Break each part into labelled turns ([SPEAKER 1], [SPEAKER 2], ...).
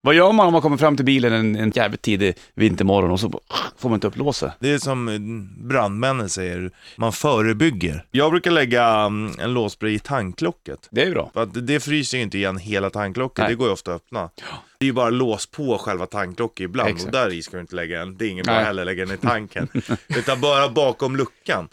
[SPEAKER 1] Vad gör man om man kommer fram till bilen en, en jävligt tidig vintermorgon och så bara, får man inte upp låset?
[SPEAKER 2] Det är som eh, brandmännen säger, man förebygger. Jag brukar lägga mm, en låsspray i tanklocket.
[SPEAKER 1] Det är ju bra.
[SPEAKER 2] För att det fryser ju inte igen hela tanklocket,
[SPEAKER 1] Nej.
[SPEAKER 2] det går ju ofta att öppna. Det är ju bara lås på själva tanklocket ibland
[SPEAKER 1] Exakt.
[SPEAKER 2] och där i ska du inte lägga den. Det är ingen bra
[SPEAKER 1] Nej.
[SPEAKER 2] heller att lägga den i tanken. Utan bara bakom luckan.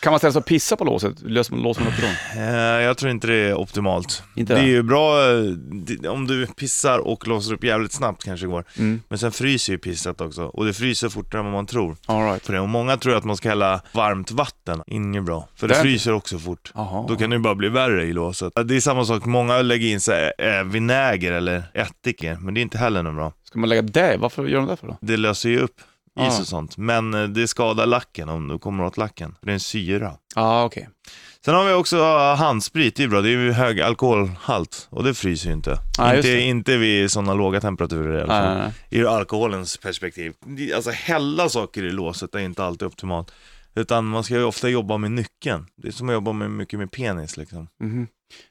[SPEAKER 1] Kan man ställa sig och pissa på låset? Löser man, låser man upp det då?
[SPEAKER 2] Eh, Jag tror inte det är optimalt.
[SPEAKER 1] Inte
[SPEAKER 2] det är
[SPEAKER 1] det?
[SPEAKER 2] ju bra eh, det- om du pissar och låser upp jävligt snabbt kanske det går.
[SPEAKER 1] Mm.
[SPEAKER 2] Men sen fryser ju pisset också och det fryser fortare än vad man tror.
[SPEAKER 1] All right.
[SPEAKER 2] För det. Och många tror att man ska hälla varmt vatten, inget bra. För det
[SPEAKER 1] Där.
[SPEAKER 2] fryser också fort.
[SPEAKER 1] Aha.
[SPEAKER 2] Då kan det ju bara bli värre i låset. Det är samma sak, många lägger in så här, eh, vinäger eller ättika, men det är inte heller något bra.
[SPEAKER 1] Ska man lägga det? Varför gör de det för då?
[SPEAKER 2] Det löser ju upp is
[SPEAKER 1] Ja.
[SPEAKER 2] och sånt, men eh, det skadar lacken om du kommer åt lacken. För det är en syra.
[SPEAKER 1] Ja, okej.
[SPEAKER 2] Sen har vi också eh, handsprit, det är bra. Det är ju hög alkoholhalt och det fryser ju inte.
[SPEAKER 1] Ja, just
[SPEAKER 2] inte,
[SPEAKER 1] det.
[SPEAKER 2] inte vid sådana låga temperaturer i alla
[SPEAKER 1] Nej,
[SPEAKER 2] fall.
[SPEAKER 1] nej, nej.
[SPEAKER 2] Ur alkoholens perspektiv. Det- Alltså hälla saker i låset är inte alltid optimalt. Utan man ska ju ofta jobba med nyckeln. Det är som att jobba med, mycket med penis liksom.
[SPEAKER 1] Mhm.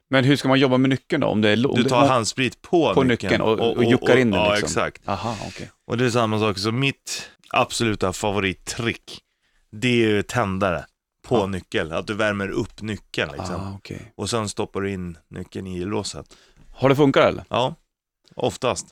[SPEAKER 1] Men hur ska man jobba med nyckeln då? Om det är lo- om
[SPEAKER 2] Du
[SPEAKER 1] det-
[SPEAKER 2] tar handsprit på,
[SPEAKER 1] på nyckeln och, och, juckar in den
[SPEAKER 2] Ja,
[SPEAKER 1] liksom?
[SPEAKER 2] exakt.
[SPEAKER 1] Aha, okej.
[SPEAKER 2] Och det är samma sak som mitt absoluta favorittrick. Det är ju tändare på
[SPEAKER 1] Ja.
[SPEAKER 2] nyckel. Att du värmer upp nyckeln liksom.
[SPEAKER 1] Ah, okej.
[SPEAKER 2] och sen stoppar du in nyckeln i låset.
[SPEAKER 1] Har det funkat eller?
[SPEAKER 2] Ja, oftast.